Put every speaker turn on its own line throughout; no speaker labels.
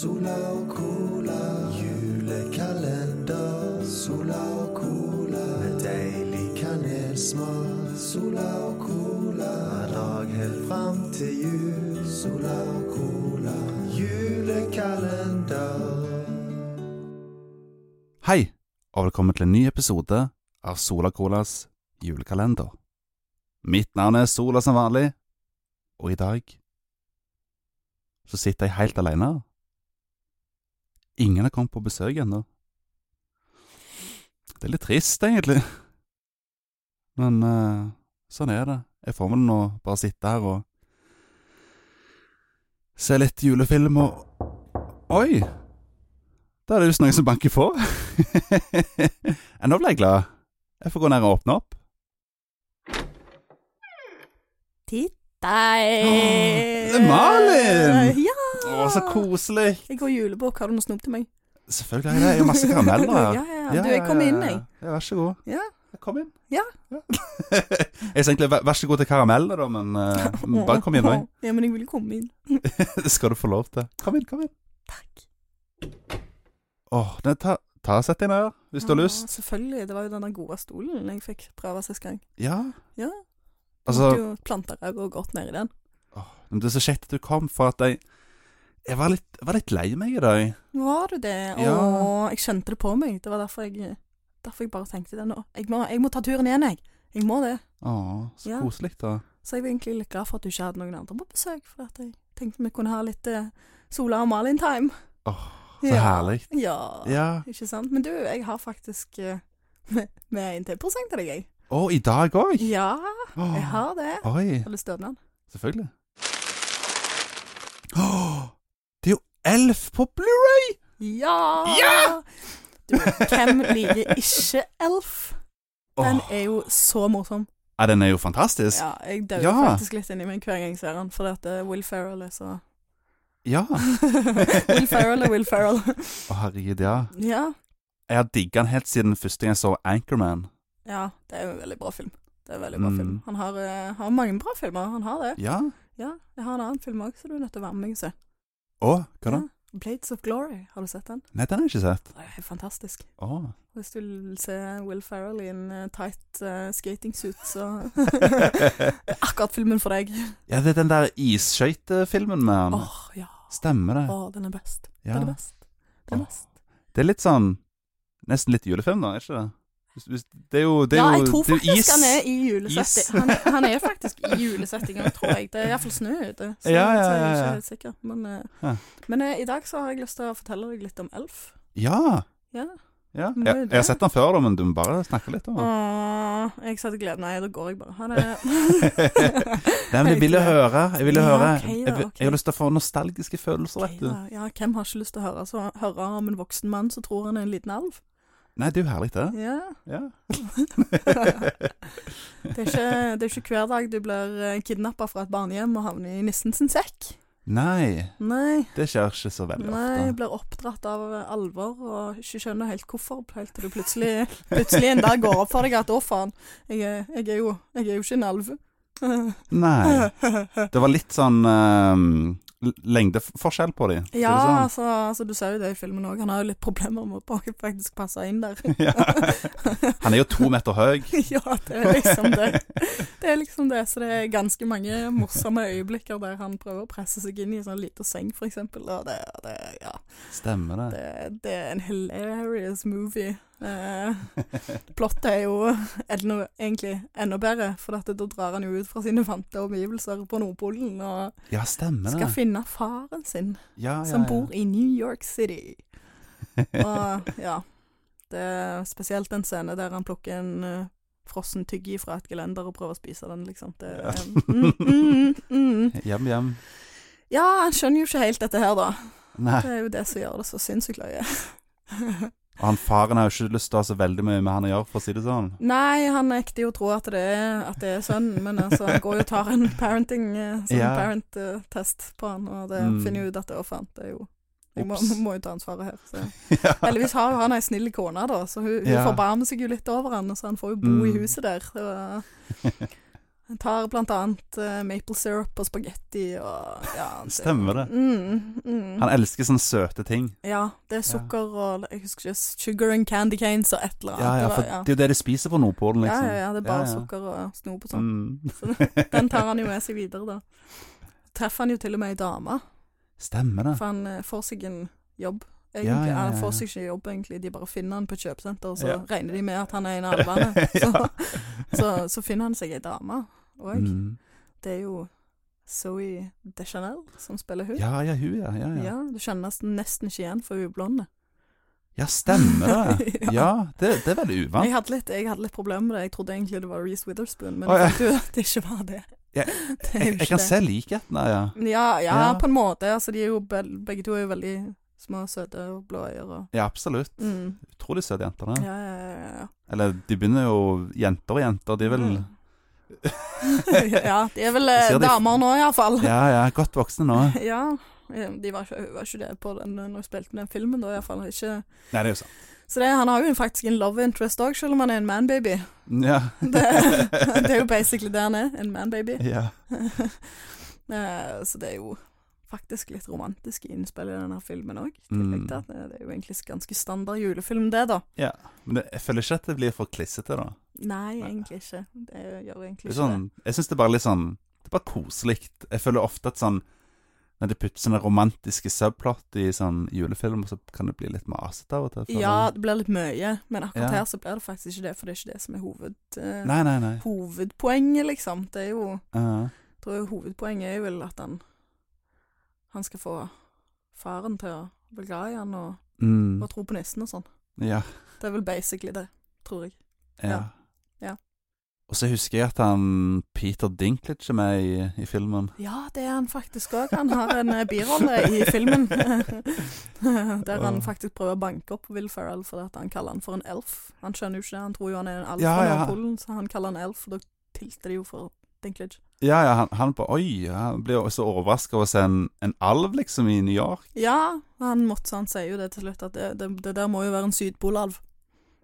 Sola og cola, julekalender. Sola og cola, med deilig kanelsmak. Sola og cola, hver dag helt fram til jul. Sola og cola, julekalender.
Hei, og velkommen til en ny episode av Sola Colas julekalender. Mitt navn er Sola som vanlig, og i dag så sitter jeg helt alene. Ingen har kommet på besøk ennå. Det er litt trist, egentlig. Men eh, sånn er det. Jeg får vel nå bare sitte her og se litt julefilm og Oi! Da er det visst noen som banker på. Ja, nå ble jeg glad. Jeg får gå ned og åpne opp.
Titt
Åh, det er Malin!
Ja!
Å, så koselig!
Jeg går julebukk. Har du noe snop til meg?
Selvfølgelig er det jeg har masse karameller her.
ja, ja, ja. Du, jeg kommer inn, jeg.
Ja, vær så god.
Ja.
Kom inn.
Ja.
jeg sa egentlig vær, vær så god til karameller, da, men eh, men bare kom inn, jeg.
Ja, men jeg vil jo komme inn.
Det skal du få lov til. Kom inn, kom inn.
Takk.
Åh, nei, ta, ta og Sett deg ned hvis du har
Ja,
lyst.
Selvfølgelig. Det var jo den der gode stolen jeg fikk prøve sist gang.
Ja.
Ja.
Altså,
Måtte jo planta ræva godt nedi den.
men det er så kjekt at du kom, for at jeg Jeg var litt, jeg var litt lei meg i dag.
Var du det?
Ja.
Åh, jeg kjente det på meg. Det var derfor jeg, derfor jeg bare tenkte det nå. Jeg må, jeg må ta turen igjen, jeg. Jeg må det.
Åh, så
Ja.
koselig, da.
Så jeg var egentlig litt glad for at du ikke hadde noen andre på besøk, for at jeg tenkte vi kunne ha litt eh, Sola og Malin-time.
Åh, så herlig.
Ja.
Ja.
Ikke sant? Men du, jeg har faktisk eh, med, med en til presang til deg, jeg.
Å, i dag òg?
Ja, jeg har det.
Oi.
Har du støvnad?
Selvfølgelig. Åh, det er jo Elf på Blu-ray!
Ja!
Ja!
Du, hvem liker ikke Elf? Den
Åh,
er jo så morsom.
ja, den er jo fantastisk. Ja.
Ja, jeg dauer
Ja.
faktisk litt inni meg hver gang jeg ser den, fordi at eh, Will Ferrell er så
Å,
Will Ferrell er Will Ferrell.
herregud, ja.
ja.
Jeg har digga den helt siden første gang jeg så Anchorman.
ja, det er jo en veldig bra film. Det er en veldig bra
Mm.
film. Han har, eh, har mange bra filmer, han har det.
Ja.
Ja, jeg har en annen film òg, så du er nødt til å være med meg og se.
Å, hva da?
Ja. Blades of Glory, har du sett den?
Nei, den har jeg ikke sett.
Det er helt fantastisk.
Å,
Hvis du vil se Will Ferrell i en eh, tight eh, skating suit, så Akkurat filmen for deg.
Ja, det er den der isskøytefilmen med
Åh,
han.
ja.
Stemmer det.
Åh, den er best.
Ja.
Den er best.
Åh,
Den er best.
Det er litt sånn Nesten litt julefilm, da, er ikke det? Hvis- hvis- Det er jo det er
ja,
jo,
jeg tror
det er jo
faktisk
is.
han er i julesetting.
Is.
Han, han er faktisk i julesettinga, tror jeg. Det er iallfall snø ute, så,
Ja, ja,
så jeg
ja, ja.
er ikke helt sikker. Men, eh,
Ja.
men eh, i dag så har jeg lyst til å fortelle deg litt om Elf.
Ja.
Ja.
ja.
Men det er
Jeg,
jo
jeg har
det.
sett den før, da, men du må bare snakke litt om den.
Åh, jeg satte gleden Nei, da går jeg bare. Ha det.
Nei, men jeg ville høre. Jeg ville
Ja,
høre.
ok da,
Jeg, vil-
ok.
jeg har lyst til å få nostalgiske følelser, vet du.
Ja, ja, hvem har ikke lyst til å høre, så, høre om en voksen mann som tror han er en liten alv?
Nei, det er jo herlig, det.
Ja.
Ja.
Det er ikke, det er ikke hver dag du blir kidnappa fra et barnehjem og havner i nissen sin sekk.
Nei,
Nei,
det skjer ikke så veldig
nei,
ofte.
blir oppdratt av alvor og ikke skjønner helt hvorfor. Helt til du plutselig, plutselig en dag går opp for deg at å, faen, jeg, er- jeg, er jo- jeg er jo ikke en alv.
Nei. Det var litt sånn ehm, l- lengdeforskjell på de. sånn? skal
Ja,
du
altså, altså, du ser jo det i filmen òg. Han har jo litt problemer med å bare faktisk passe inn der.
si. ja. Han er jo to meter høy.
ja, det er liksom det. Det er liksom det, så det er ganske mange morsomme øyeblikker der han prøver å presse seg inn i en sånn liten seng, for eksempel. Og det, det, ja,
Stemmer det.
det, det er en hilarious movie. Eh, plottet er jo enda, egentlig enda bedre, for at da drar han jo ut fra sine vante omgivelser på Nordpolen og
Ja, stemmer
skal
det.
finne faren sin,
eh. Ja, ja,
som
ja.
bor i New York City. Og ja, det er spesielt den scenen der han plukker en eh, frossen tyggi fra et gelender og prøver å spise den, liksom. Det,
Ja.
er- mm, mm, mm.
Hjem, hjem.
Ja, han skjønner jo ikke helt dette her, da.
Nei.
Det er jo det som gjør det så sinnssykt løye.
Og han faren har jo ikke lyst til å ha så veldig mye med han å gjøre, for å si det sånn.
Nei, han nekter jo å tro at det er, at det er sønnen, men altså, han går jo og tar en parenting eh, sånn
Ja.
parent eh, test på han, og det
Mm.
finner jo ut at det er fant. Det er jo jeg må,
Ops.
må jo ta ansvaret her. Så.
Ja.
Heldigvis har jo han ei snill kone, da, så hun, hun
Ja.
forbarmer seg jo litt over han, så han får jo bo i
Mm.
huset der. Det var- Jeg tar blant annet eh, maple syrup og spagetti og ja,
Stemmer det.
Mm, mm.
Han elsker sånne søte ting.
Ja, det er sukker og jeg husker ikke, sugar and candy canes og et eller annet.
Ja, ja,
Det
for
var-
det er jo det de spiser på Nordpolen, liksom.
ja, ja, ja, det er bare
Ja, ja.
sukker og snop og sånn.
Mm.
Den tar han jo med seg videre, da. Treffer han jo til og med ei dame,
Stemmer det.
for han eh, får seg en jobb. Egentlig,
Ja, ja, ja,
Han
ja.
får seg ikke jobb, egentlig. De bare finner han på et kjøpesenter, og så
Ja.
regner de med at han er en av alvene. Så, så, så finner han seg ei dame òg.
Mm.
Det er jo Zoe Deschanel som spiller hun.
Ja, ja, hun, ja. Ja,
Ja,
ja.
Du kjenner nesten, nesten ikke igjen, for hun er blond.
ja stemmer det.
Ja.
Ja, det, det er veldig uvant.
Jeg hadde, litt, jeg hadde litt problemer med det. Jeg trodde egentlig det var Reece Witherspoon, men
Å, ja.
jeg fant jo at det ikke var det.
Ja,
Det er jo
Jeg, jeg
ikke
kan
det.
se likhetene, ja.
Ja, ja,
Ja.
på en måte. Altså, de er jo be begge to er jo veldig små, søte og blå øyer og
Ja, absolutt.
mm.
Utrolig søte jentene.
Ja, ja, ja, ja.
Eller de begynner jo Jenter og jenter, de er vel
Mm. ja, de er vel eh,
Ser de-
damer nå, iallfall. Ja.
Ja, ja, godt voksne nå.
ja. Eh, De var ikke, hun var ikke det på den, når hun spilte den filmen, da iallfall. Ikke
Nei, det er jo sant.
Så det, han har jo en- faktisk en love interest òg, selv om han er en manbaby.
Ja.
Det, det er jo basically det han er, en manbaby.
ja.
Eh, Så det er jo faktisk litt romantisk innspill i denne filmen òg. Mm.
Mm.
Det det er jo egentlig ganske standard julefilm, det, da.
Men det, jeg føler ikke at det blir for klissete, da.
Nei, egentlig ikke. Det gjør egentlig
Det er
ikke det.
sånn, jeg syns det er bare litt sånn Det er bare koselig. Jeg føler ofte at sånn Når de putter sånne romantiske subplot i sånn julefilm, så kan det bli litt masete av og til. føler
Ja,
jeg.
det blir litt mye, men akkurat
sånn- Ja.
her så blir det faktisk ikke det, for det er ikke det som er hoved, eh,
Nei, nei, Uh-huh. nei.
hovedpoenget, liksom. Det er jo
Ja.
tror jeg hovedpoenget er vel at han han skal få faren til å bli glad i han og,
mm.
og tro på nissen og sånn.
ja.
Det er vel basically det, tror jeg.
Ja.
Ja.
Og så husker jeg at han Peter Dinklage er med i, i filmen.
Ja, det er han faktisk òg. Han har en eh, birolle i filmen der han faktisk prøver å banke opp Will Ferrell fordi at han kaller han for en elf. Han skjønner jo ikke det, han tror jo han er en alf
Ja,
fra
ja.
Nordpolen, så han kaller han elf, og da tilter de jo for Dinklage.
Ja, ja, han, han på Oi! Han blir jo så overraska over å se en, en alv, liksom, i New York.
Ja, han måtte, så han sier jo det til slutt, at det, det, det der må jo være en sydpolalv.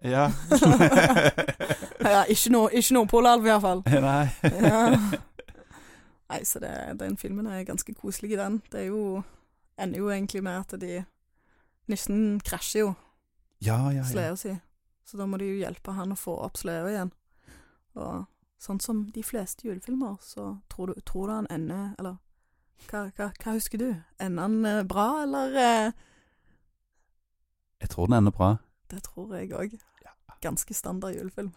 Ja.
Ja, ikke, no, ikke nordpolalv iallfall.
Nei.
Ja. Nei, så det, den filmen er ganske koselig i den. Det er jo, ender jo egentlig med at de Nissen krasjer jo
Ja, ja, ja.
sleda si, så da må de jo hjelpe han å få opp sleda igjen. Og sånn som de fleste julefilmer, så tror du, tror du han ender Eller hva, hva, hva husker du? Ender han eh, bra, eller? Eh,
Jeg tror den ender bra.
det tror jeg òg. Ganske standard julefilm.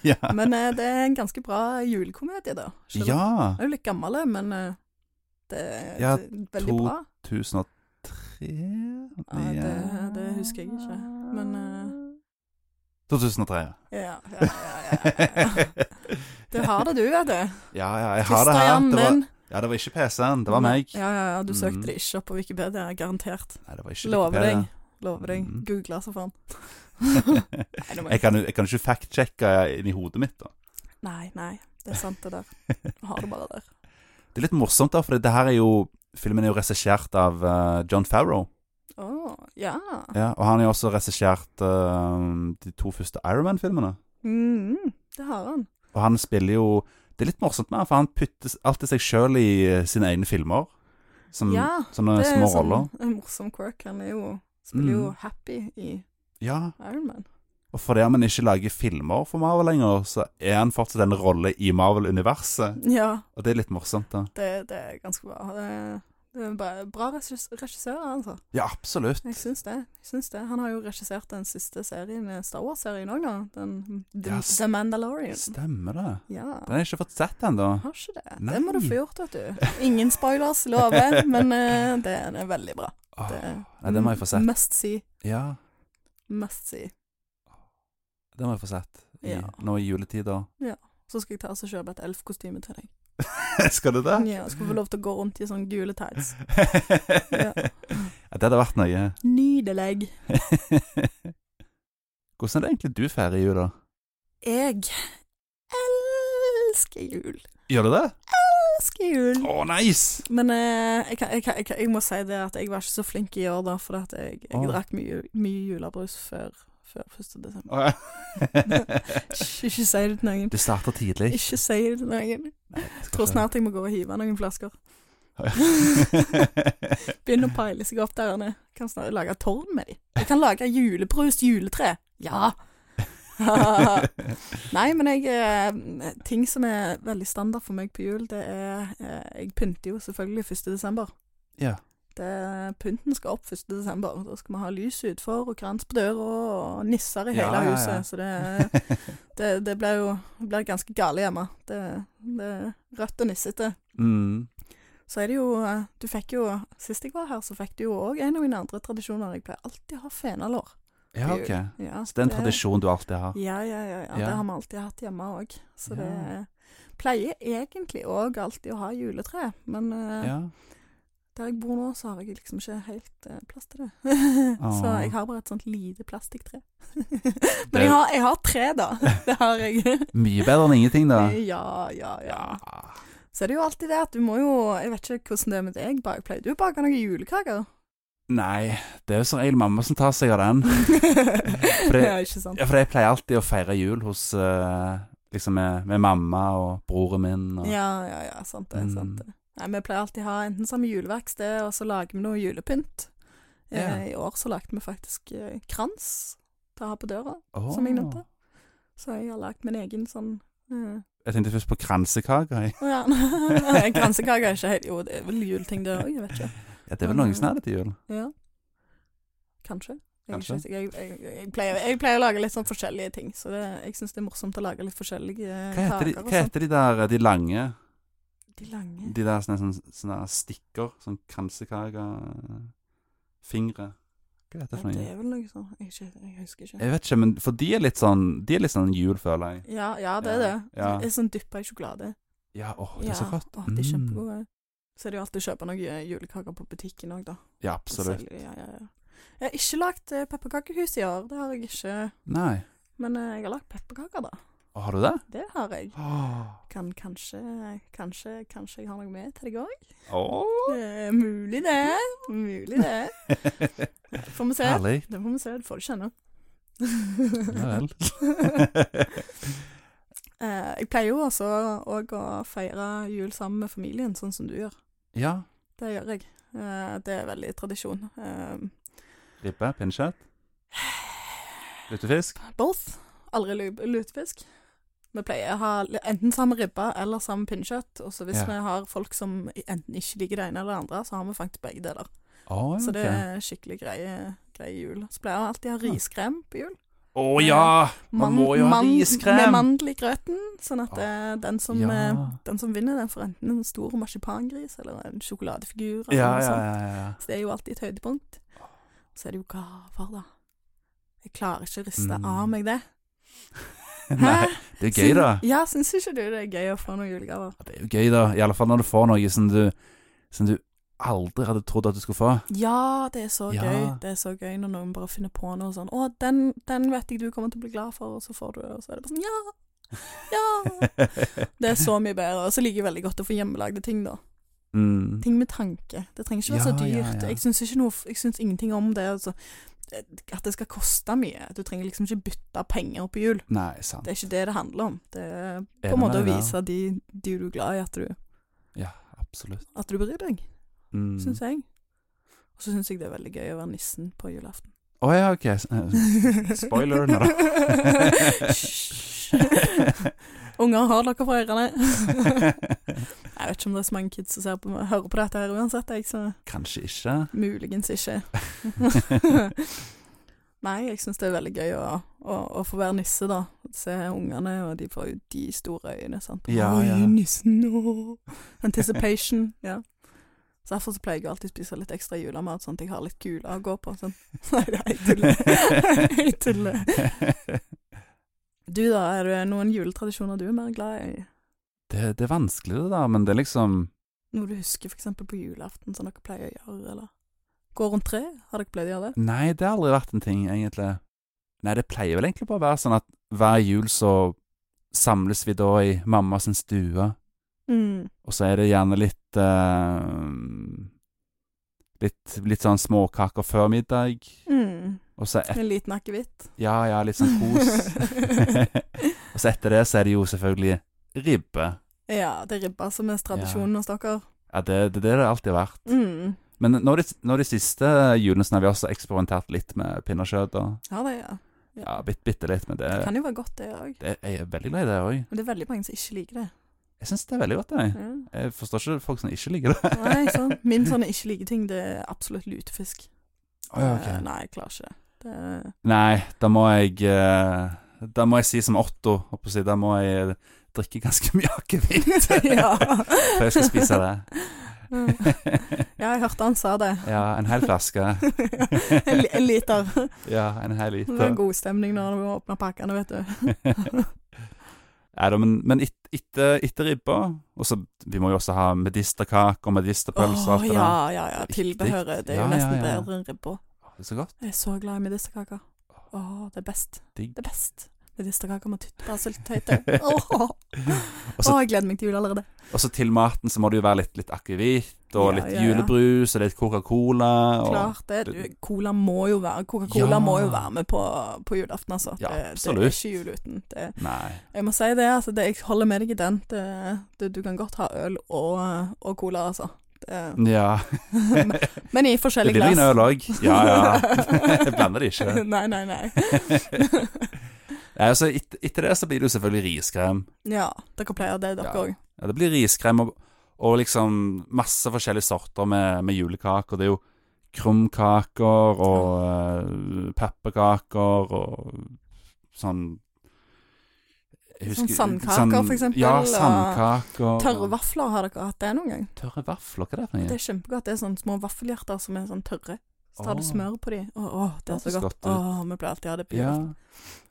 ja.
Men eh, det er en ganske bra julekomedie, da. Selv om
ja.
Den er jo litt gammel, men eh, det er
Ja,
det er veldig
to-
bra.
2003
Ja, Eh,
eh,
det- det husker jeg ikke, men, eh,
2003, ja.
Ja, ja, ja, ja, ja. Du har det, du, vet du.
ja, ja, jeg har det her.
Christian
Det var,
din.
ja, det var ikke PC-en, det var meg.
Ja, ja, ja, du søkte
Mm.
det ikke opp på Wikipedia, garantert.
Nei, det var ikke
Lover
Wikipedia.
deg. Lover deg.
Mm.
Googla så faen. Nei, nå må
Jeg kan, jo- jeg kan ikke fact-sjekke inni hodet mitt, da.
Nei, nei, det er sant det der. Har det bare der.
Det er litt morsomt, da, for det her er jo Filmen er jo regissert av eh, John Farrow.
Å, ja.
Ja, og han har jo også regissert eh, de to første Iron Man-filmene.
Mm, det har han.
Og han spiller jo Det er litt morsomt med han, for han putter alltid seg sjøl i eh, sine egne filmer. Som
Ja,
sånne
Det er
små
sånn
roller.
en morsom quirk. Han er jo Spiller jo
Mm.
Happy i
Ja,
Iron Man.
Og fordi han ikke lager filmer for Marvel lenger, så er han fortsatt en rolle i Marvel-universet.
Ja,
Og det er litt morsomt, da.
Det, det er ganske bra. Det, det er en bra, bra regissør, regissør, altså.
Ja, absolutt.
Jeg syns det. Jeg syns det. Han har jo regissert den siste serien, eh, Star Wars-serien òg, da. Den, The,
Ja, s-
The Mandalorian.
Stemmer det.
Ja.
Den har jeg ikke fått sett ennå.
Har ikke det.
Nei.
Det må du få gjort, vet du. Ingen spoilers, lover, men eh, det, det er veldig bra.
Åh,
Det,
Nei, den Ah, må jeg få sett.
Must see.
Ja,
Must see.
den må jeg få sett. I,
Ja.
Nå i juletida.
Så skal jeg ta og kjøpe et elfkostyme til deg.
Skal du det?
Ja, skal få lov til å gå rundt i sånne gule tights.
ja.
Ja.
Det hadde vært noe.
Nydelig.
Hvordan er det egentlig du feirer jul, da?
Jeg elsker jul.
Gjør du det?
Elsker jul.
Å, nice!
Men eh, jeg, kan, jeg, kan, jeg, kan, jeg må si det at jeg var ikke så flink i år, da, fordi at jeg, jeg
Åh.
drakk mye, mye julebrus før, før 1. desember.
Å, ja.
Ikke, ikke si det til noen.
Du starter tidlig.
Ikke si det til noen. Jeg tror snart jeg må gå og hive noen flasker. Begynne å peile seg opp der nede. Kan snart lage tårn med dem. Jeg kan lage julebrus juletre. Ja! Nei, men jeg eh, Ting som er veldig standard for meg på jul, det er eh, Jeg pynter jo selvfølgelig 1. desember.
Ja.
Det, pynten skal opp 1. desember. Da skal vi ha lys utfor og krans på døra og nisser i
Ja,
hele
ja, ja.
huset. Så det er det, det blir jo det blir ganske gale hjemme. Det, det er rødt og nissete.
Mm.
Så er det jo eh, Du fikk jo Sist jeg var her, så fikk du jo òg en av mine andre tradisjoner. Jeg pleier alltid å ha fenalår.
Ja, ok.
Ja,
Så det er en tradisjon du alltid har.
Ja, ja, ja, ja.
Ja.
Det har vi alltid hatt hjemme òg. Så
Ja.
det pleier egentlig òg alltid å ha juletre, men eh,
Ja.
der jeg bor nå, så har jeg liksom ikke helt eh, plass til det. så
Åh.
jeg har bare et sånt lite plastikktre.
Ah. Det
men jeg
er
har, jeg har tre, da. Det har jeg.
mye bedre enn ingenting, da.
ja, ja, ja. Så er det jo alltid det at du må jo Jeg vet ikke hvordan det er med deg. Bare, pleier du å bake noen julekaker?
Nei, det er jo som regel mamma som tar seg av den. det-
ja, ikke sant?
Ja, for jeg pleier alltid å feire jul hos eh, Liksom med, med mamma og broren min. Og,
Ja, ja, ja. Sant det.
Mm.
sant det. Nei, Vi pleier alltid å ha enten samme juleverksted, og så lager vi noe julepynt. Eh, I år så lagde vi faktisk eh, krans til å ha på døra,
Åh.
som jeg nevnte. Så jeg har lagd min egen sånn eh,
Jeg tenkte først på kransekaker. jeg.
Å ja. en Kransekake er ikke helt Jo, det er vel juleting, det òg. Jeg vet ikke.
Ja, det er vel noen som har det til jul.
Ja. Kanskje. Jeg, er ikke
Kanskje.
sikker. jeg, jeg, jeg, pleier, jeg pleier å lage litt sånn forskjellige ting, så det, jeg syns det er morsomt å lage litt forskjellige
Hva heter de,
kaker. og
hva heter de der eh, de lange?
sånn. De lange
De der sånne, sånne, sånne stikker? Sånn kransekakerfingre? Hva heter det
ja,
for
Det
noe?
er vel noe sånn Jeg, ikke, jeg husker ikke.
Jeg vet ikke, men for de er litt sånn De er litt sånn jul, føler jeg.
Ja, ja, det er det.
Ja.
Det er sånn dyppa i sjokolade.
Ja, åh, det er så godt.
Å, de er
Mm.
kjempegode. Så er det jo alltid å kjøpe noen julekaker på butikken òg, da.
Ja,
Så
absolutt.
selger de, Ja, ja, ja. Jeg har ikke lagd eh, pepperkakehus i år, det har jeg ikke.
Nei.
Men eh, jeg har lagd pepperkaker, da.
Å, har du det?
Det har jeg.
Ah. Åh.
Kan kanskje Kanskje, kanskje jeg har noe med til deg òg?
Åh.
Eh, mulig det. Mulig det. Får vi se.
Herlig.
Det får vi se. Det får du kjenne.
Ja vel.
Eh, jeg pleier jo også òg å feire jul sammen med familien, sånn som du gjør.
Ja.
Det gjør jeg. Eh, det er veldig tradisjon. Eh,
Ribbe, pinnekjøtt, lutefisk.
both. Aldri lu- lutefisk. Vi pleier å ha li- enten sammen ribbe eller sammen pinnekjøtt. Og så hvis
Ja.
vi har folk som enten ikke liker det ene eller det andre, så har vi faktisk begge deler.
Å,
Så det
ok.
er skikkelig greie, greie jul. Så pleier jeg alltid å ha riskrem på jul.
Å ja! Man
Man,
må jo ha riskrem! Ah,
Med mandel i grøten. Sånn at eh, den, som,
Ja.
eh, den som vinner, den får enten en stor marsipangris eller en sjokoladefigur. Eller
Ja,
noe
ja,
sånt.
ja. ja.
Så det er jo alltid et høydepunkt. Så er det jo gaver, da. Jeg klarer ikke å riste
Mm.
av meg det.
Nei, det er gøy, da.
Ja, syns ikke du det er gøy å få noen julegaver?
Ja, Det er jo gøy, da. I alle fall når du får noe som du, som du aldri hadde trodd at du skulle få.
Ja, det er så
Ja.
gøy. Det er så gøy når noen bare finner på noe sånn 'Å, den, den vet jeg du kommer til å bli glad for', og så får du det, og så er det bare sånn Ja! Ja! Det er så mye bedre. Og så liker jeg veldig godt å få hjemmelagde ting, da.
Mm.
Ting med tanke. Det trenger ikke være
Ja,
så dyrt.
ja, ja.
Jeg syns ikke noe Jeg syns ingenting om det. Altså. At det skal koste mye. Du trenger liksom ikke bytte penger på jul.
Nei, sant.
Det er ikke det det handler om. Det er på
Enig
en måte å
med deg der.
vise de, de du er glad i, at du,
Ja, absolutt.
at du bryr deg,
Mm.
syns jeg. Og så syns jeg det er veldig gøy å være nissen på julaften.
Å ja, ok. S- eh, Spoiler, nei da.
Hysj. Unger, har dere for ørene? jeg vet ikke om det er så mange kids som ser på, hører på dette her uansett, jeg, så
Kanskje ikke.
muligens ikke. Nei, jeg syns det er veldig gøy å, å, å få være nisse, da. Se ungene, og de får jo de store øyne, sant.
Ja,
Oi,
ja.
nissen, åh. Anticipation. ja. Så derfor så pleier jeg alltid å spise litt ekstra julemat, sånn at jeg har litt kule å gå på. Sånn. Nei, det er jeg tuller. Jeg tuller. Du da, er det noen juletradisjoner du er mer glad i?
Det, det er vanskelig, det der, men det er liksom
Noe du husker f.eks. på julaften, som dere pleier å gjøre, eller? Gå rundt tre? Har dere pleid å gjøre det?
Nei, det har aldri vært en ting, egentlig. Nei, det pleier vel egentlig bare å være sånn at hver jul så samles vi da i mamma sin stue,
Mm.
og så er det gjerne litt eh, litt, litt sånn småkaker før middag,
Mm.
Og så et,
En liten akevitt.
ja, ja, litt sånn kos. og så etter det så er det jo selvfølgelig ribbe.
ja, det er ribba som er tradisjonen hos dere.
Ja, det det er det det alltid har vært.
Mm.
Men nå de, nå de siste julene så har vi også eksperimentert litt med pinnekjøtt. Og,
Ja, det ja.
ja, bitte, bitte litt, men det,
Det kan jo være godt, det òg.
det, jeg er veldig glad i det òg.
Men det er veldig mange som ikke liker det.
Jeg syns det er veldig godt. Jeg.
Ja.
jeg forstår ikke folk som ikke liker det.
Nei, sånn. Min sånn ikke like ting, det er absolutt lutefisk.
Å, ja, ok.
Eh, Nei, jeg klarer ikke det. det. er-
Nei, da må jeg eh, Da må jeg si som Otto, holdt på å si. Da må jeg eh, drikke ganske mye akevitt
ja.
før jeg skal spise det.
ja, jeg hørte han sa det.
Ja, en hel flaske.
en, li- en liter.
Ja, en hel
Det var
liter.
god stemning når du åpner pakkene, vet du.
Nei da, men, men et, etter, etter ribba Og så Vi må jo også ha medisterkaker og medisterpølser.
Åh,
alt det
ja,
der.
ja, ja.
Riktig.
Tilbehøret. Det er jo
Ja, ja,
nesten
ja.
bedre enn ribba.
Åh, Det er så godt.
Jeg er så glad i medisterkaker. Åh, det er best.
Digg.
Det er best. Medisterkaker med tyttebærsyltetøy. Åh,
Og så-
Åh, jeg gleder meg til jul allerede.
Og så til maten så må det jo være litt, litt akevitt og
Ja,
litt
ja, ja.
julebrus og litt Coca-Cola. Og...
Klart det. Du, cola må jo være Coca-Cola
Ja.
må jo være med på, på julaften, altså.
Ja,
det, det er
absolutt.
ikke jul uten. Det,
Nei.
jeg må si det, altså. Det, jeg holder med deg i den. Det, det, du kan godt ha øl og, og cola, altså. Det,
Ja.
men i
Det
forskjellige
blir
glass.
en øl òg. Ja, ja. Jeg blander det ikke.
nei, nei, nei.
Nei, altså, et, etter det så blir det jo selvfølgelig riskrem.
Ja, dere pleier det,
Ja.
dere òg.
Ja, det blir riskrem og, og liksom masse forskjellige sorter med, med julekaker. Det er jo krumkaker og eh, pepperkaker og sånn jeg
Sånn sandkaker, for eksempel,
Ja,
og
sandkaker.
Tørre vafler, har dere hatt det noen gang?
Tørre vafler, hva er det for
Det
noe?
er kjempegodt. Det er sånne små vaffelhjerter som er sånn tørre. Så tar du
Åh.
smør på de. Åh, åh, det er
Det
så
høres
godt.
godt ut.
Åh, vi pleier alltid å ha det på
Ja.
jul.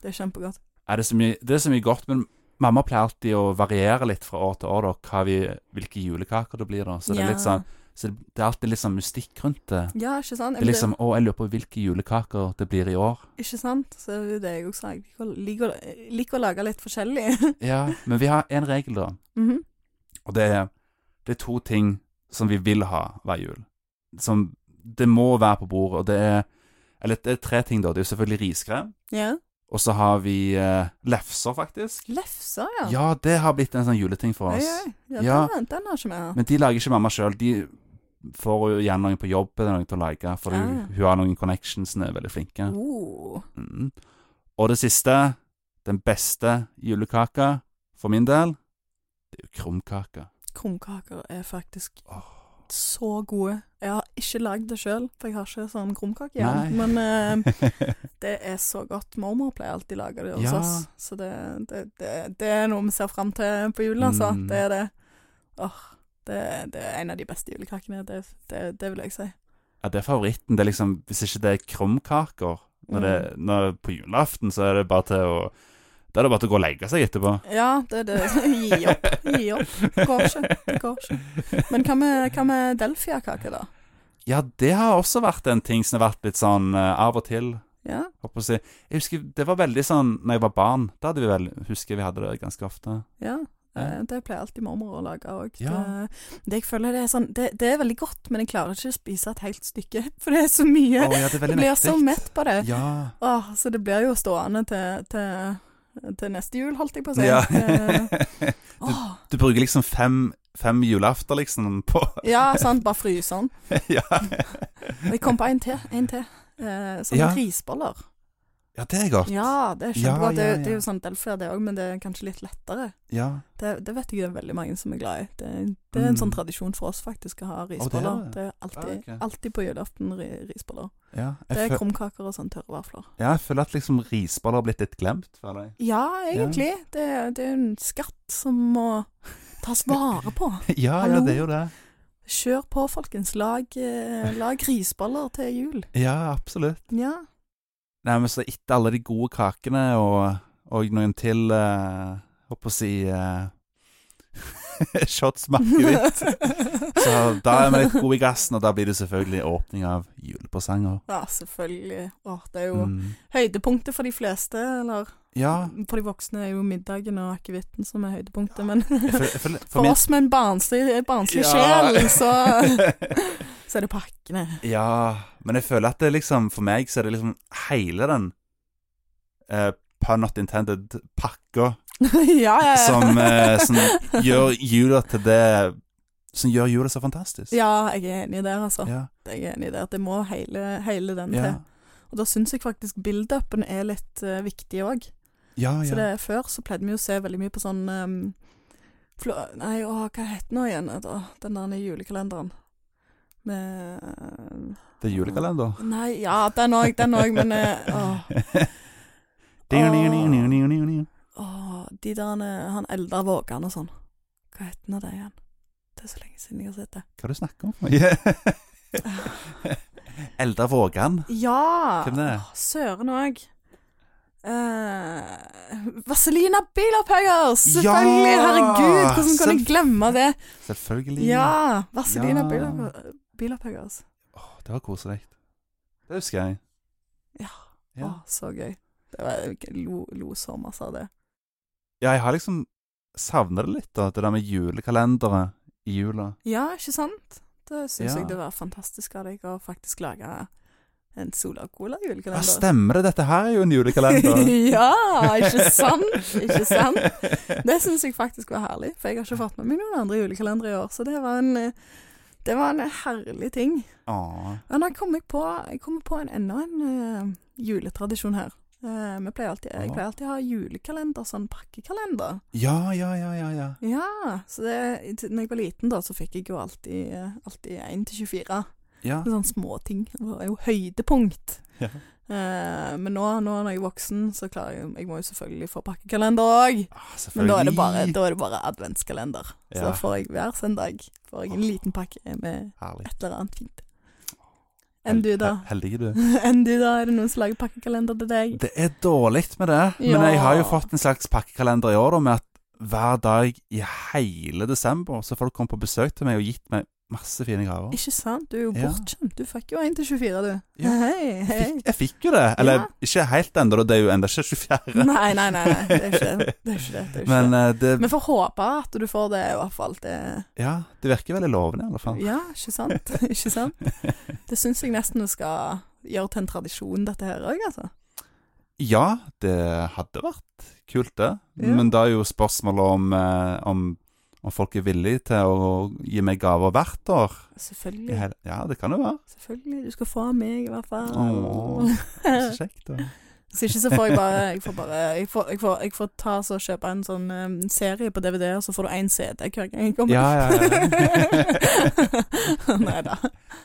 Det er kjempegodt.
Er det, så mye, det er så mye godt, men mamma pleier alltid å variere litt fra år til år da, hva vi, hvilke julekaker det blir. da. Så, det,
Ja.
er litt sånn, så det, det er alltid litt sånn mystikk rundt det.
Ja, ikke sant?
Det er liksom, å, jeg lurer på hvilke julekaker det blir i år.
Ikke sant? Så det er jo det jeg også sa. Jeg liker å- liker, å- liker å lage litt forskjellig.
Ja, Men vi har én regel, da.
Mhm.
Og det er, det er to ting som vi vil ha hver jul. Som det må være på bordet, og det er Eller det er tre ting, da. Det er jo selvfølgelig riskrem.
Ja.
Og så har vi eh, lefser, faktisk.
Lefser, ja.
Ja, det har blitt en sånn juleting for
Oi,
oss.
oi. ja,
Ja.
Den, den har ikke vi hatt.
Men de lager ikke mamma sjøl. De får jo gjerne noen på jobb eller noen til å lage, for
Ah.
hun, hun har noen connections hun er veldig flinke.
Oh.
Mm. Og det siste, den beste julekaka for min del, det er jo krumkake.
Krumkaker er faktisk
Åh.
så gode. Jeg har ikke lagd det sjøl, for jeg har ikke sånn krumkake
Nei.
igjen. Men eh, det er så godt. Mormor pleier alltid å lage det hos
Ja.
oss. Så det, det, det, det er noe vi ser fram til på jul, altså.
Mm.
Det er det. Åh, det, det er en av de beste julekakene. Det, det, det vil jeg si.
Ja, det er favoritten. Det er liksom, hvis ikke det er krumkaker når det,
Mm.
når, på julaften, så er det bare til å Da er det bare til å gå og legge seg etterpå.
Ja, det er det. Gi opp. Gi opp. Det går ikke. Det går ikke. Men hva med, hva med delfiakake, da?
Ja, det har også vært en ting som har vært litt sånn eh, av og til.
Ja.
Holdt på å si. Jeg husker, Det var veldig sånn når jeg var barn. Da hadde vi vel, husker vi hadde det ganske ofte.
ja.
Ja.
eh, Det pleier alltid mormor å lage òg.
Ja.
Det, det jeg føler det er sånn det, det er veldig godt, men jeg klarer ikke å spise et helt stykke, for det er så
Å,
mye.
ja, det er
jeg
veldig
blir så
mektig.
mett på det.
Ja.
Åh, så det blir jo stående til, til, til neste jul, holdt jeg på å si.
ja.
Eh, åh,
Du bruker liksom fem, fem julafter liksom på
ja, sant. Bare fryse den.
ja.
Og Jeg kom på en til. En til. Eh, sånne
Ja.
risboller.
ja, det er godt.
Ja, det er
Ja,
kjempegodt. Det, er
ja,
jo-
ja.
det er jo sånn delfia det òg, men det er kanskje litt lettere.
Ja.
Det, det vet jeg det er veldig mange som er glad i. Det, det er en
Mm.
sånn tradisjon for oss faktisk å ha
Å,
risboller.
det er det?
det er alltid,
Ja, ok.
alltid på julaften ri, risboller.
ja.
Det
Jeg,
er
føl
krumkaker og sånn tørre vafler.
ja, jeg føler at liksom risboller har blitt litt glemt. Føler jeg.
Ja, egentlig. Det, det er jo en skatt som må tas vare på.
Ja, ja,
Hallo?
det er jo det.
Kjør på, folkens. Lag, eh, lag risboller til jul.
Ja, absolutt.
Ja.
Nei, men så etter alle de gode kakene og, og noen til eh, Håper å si eh, Shots med akevitt. Så da er vi litt gode i gassen, og da blir det selvfølgelig åpning av julepresanger.
Ja, selvfølgelig. Åh, det er jo
Mm.
høydepunktet for de fleste, eller?
Ja.
For de voksne er jo middagen og akevitten som er høydepunktet, men
Jeg føler, jeg føler,
for
min-
oss med en barnslig, barnslig
Ja.
sjel, så så er det pakkene.
Ja, men jeg føler at det liksom For meg så er det liksom hele den eh, pun not intended pakka
ja, ja, ja.
som, eh, som gjør jula til det Som gjør jula så fantastisk.
Ja, jeg er enig der, altså.
Ja,
Jeg er enig der. Det må hele, hele den
ja,
til. Og da syns jeg faktisk build-upen er litt eh, viktig òg.
ja,
Så
ja.
det Før så pleide vi jo å se veldig mye på sånn ehm, flå, Nei, åh, hva het den nå igjen? eh, da? Den der julekalenderen. Med eh,
Det er julekalender.
Nei, ja, den òg, den òg, men eh, åh, åh, De der eh, Han Eldar Vågan og sånn. Hva het den av det igjen? Det er så lenge siden jeg har sett det.
Hva er det du snakker om? Yeah. Eldar Vågan.
Ja!
Hvem det er?
Åh, Søren òg. Eh, Vaselina Bilopphøyer! Selvfølgelig!
Ja!
Herregud, hvordan kan jeg
Selv-
glemme det?
Selvfølgelig.
Ja! Vaselina
Ja.
ja. Bilopphøyers.
Åh, det var koselig. Det husker jeg.
Ja.
Ja.
Å, så gøy. Det var, jeg lo, lo så masse av det.
ja, jeg har liksom savna det litt, da. Det der med julekalendere i jula.
Ja, ikke sant? Da syns
Ja.
jeg det var fantastisk av deg å faktisk lage en Sola
Ja,
Cola-julekalender.
stemmer det. Dette her er jo en julekalender.
ja, ikke sant? Ikke sant? Det syns jeg faktisk var herlig, for jeg har ikke fått med meg noen andre julekalendere i år. Så det var en, eh, det var en herlig ting.
Åh.
Men jeg kom jeg på, jeg kom på en, enda en eh, juletradisjon her. Eh, vi pleier alltid, jeg
Åh.
pleier alltid å ha julekalender, sånn pakkekalender.
Ja, ja, ja, ja, ja.
Ja, så det, når jeg var liten da, så fikk jeg jo alltid, eh, alltid 1 til 24.
Ja,
Sånne små ting. Det var jo høydepunkt.
Ja.
Eh, men nå, nå når jeg er voksen, så klarer jeg Jeg må jo selvfølgelig få pakkekalender òg.
ah,
Men
selvfølgelig.
da er det bare, da er det bare adventskalender. Så
Ja.
da får jeg hver søndag får jeg en liten pakke med
Herlig.
et eller annet fint. Enn du, da?
Hel- Heldig du.
Enn du, da? Er det noen som lager pakkekalender til deg?
Det er dårlig med det, men
Ja.
jeg har jo fått en slags pakkekalender i år da, med at hver dag i hele desember så får du komme på besøk til meg og gitt meg masse fine gaver.
Ikke sant? Du er jo
Ja.
bortskjemt. Du fikk jo 1 til 24, du.
Ja.
Hei,
Jeg
hei.
fikk, jeg fikk jo det. Eller
Ja.
ikke helt ennå, da, det er jo ennå ikke 24.
Nei, nei, nei. nei. Det er ikke det. det, er ikke det, det, er ikke
Men
det.
eh, det,
Vi får håpe at du får det, i hvert fall. Det,
ja, det virker veldig lovende i alle fall.
ja, ikke sant? ikke sant? Det syns jeg nesten du skal gjøre til en tradisjon, dette her òg, altså.
Ja, det hadde vært kult det.
Ja.
Men da er jo spørsmålet om, eh, om, om folk er villige til å gi meg gaver hvert år. I
Selvfølgelig.
hele- Ja, det kan jo være.
Selvfølgelig. Du skal få av meg, i hvert fall.
Åh, Så kjekt, da.
Hvis ikke så får jeg bare Jeg får, bare, jeg får, jeg får, jeg får ta så og kjøpe en sånn em, serie på DVD, og så får du én CD hver gang jeg kommer.
Ja, ja, ja.
Nei da.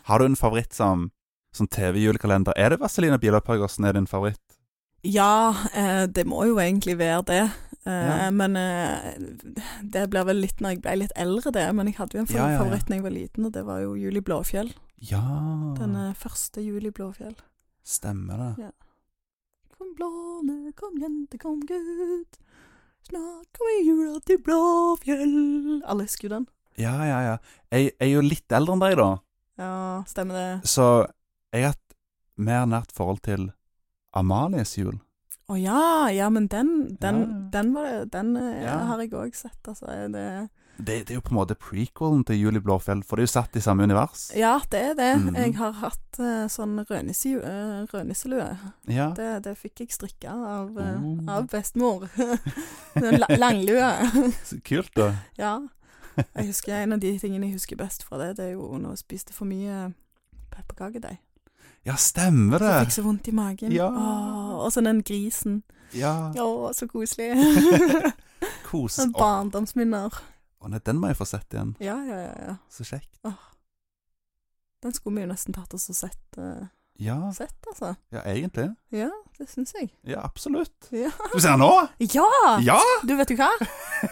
Har du en favoritt som, som TV-julekalender? Er det Vaselina Bilopphøyersen er din favoritt?
Ja, eh, det må jo egentlig være det. Eh,
Ja.
Men eh, det blir vel litt når jeg ble litt eldre, det. Men jeg hadde jo en
Ja, ja, ja.
favoritt da jeg var liten, og det var jo Juli Blåfjell.
Ja,
Den eh, første Juli Blåfjell.
stemmer det.
Kom blåne, kom jente, kom gutt. Snart kommer jula til Blåfjell. Alle husker jo den.
Ja, ja, ja. Jeg, jeg er jo litt eldre enn deg, da,
Ja, stemmer det.
så jeg har hatt mer nært forhold til Amalies jul.
Å ja, ja, men den, den,
Ja.
den, var det, den eh,
Ja.
har jeg òg sett, altså. Det,
Det, det er jo på en måte prequelen til Jul i Blåfjell, for det er jo satt i samme univers.
ja, det er det.
Mhm.
Jeg har hatt eh, sånn rødnisse, eh, rødnisselue.
Ja.
Det, det fikk jeg strikka av, eh,
Oh.
av bestemor. Den la- langlue.
Så Kult, da.
ja. Jeg husker En av de tingene jeg husker best fra det, det er jo når jeg spiste for mye pepperkakedeig.
Ja, stemmer
Så jeg
det.
fikk så vondt i magen.
Ja.
Åh, og så den grisen.
Ja.
Å, så koselig.
Kos.
Sånn
Å,
Barndomsminner.
å nei, den må jeg få sett igjen.
Ja, ja, ja. ja.
Så kjekt.
Den skulle vi jo nesten tatt oss og sett, eh,
Ja,
sett altså.
ja egentlig.
Ja, det syns jeg.
Ja, absolutt.
Ja.
Skal vi se nå?
ja!
Ja!
Du, vet du hva?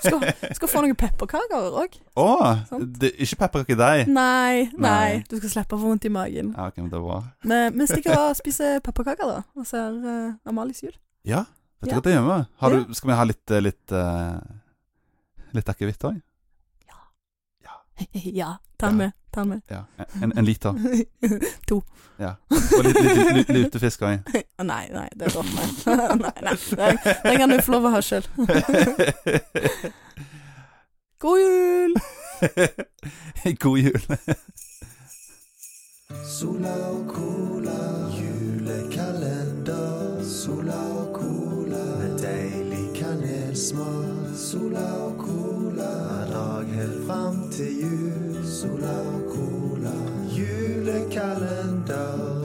Skal, skal få noen pepperkaker òg.
Å!
Sant.
det- Ikke pepperkakedeig.
Nei, nei.
Nei.
Du skal slippe å få vondt i magen.
Ja, ok, men det er bra.
Vi vi stikker og spiser pepperkaker, da. Og ser eh, Amalies jul.
Ja, vet du
Ja.
hva det gjør med? Har
Ja.
du, skal vi ha litt eh, Litt, eh, litt akevitt òg?
ja. Ta den
Ja.
med. Ta den med.
Ja. En, en liter.
to.
Ja. Og litt, litt, litt, litt lutefisk òg.
Å, nei, nei, det er godt. Nei, nei. nei. Den, den kan du få lov å ha sjøl. God jul!
God jul.
Sola og cola. Julekalender. Sola og cola. Med deilig kanelsmak. Sola og cola. Hver dag helt fram til jul. Sola og cola. Julekalender.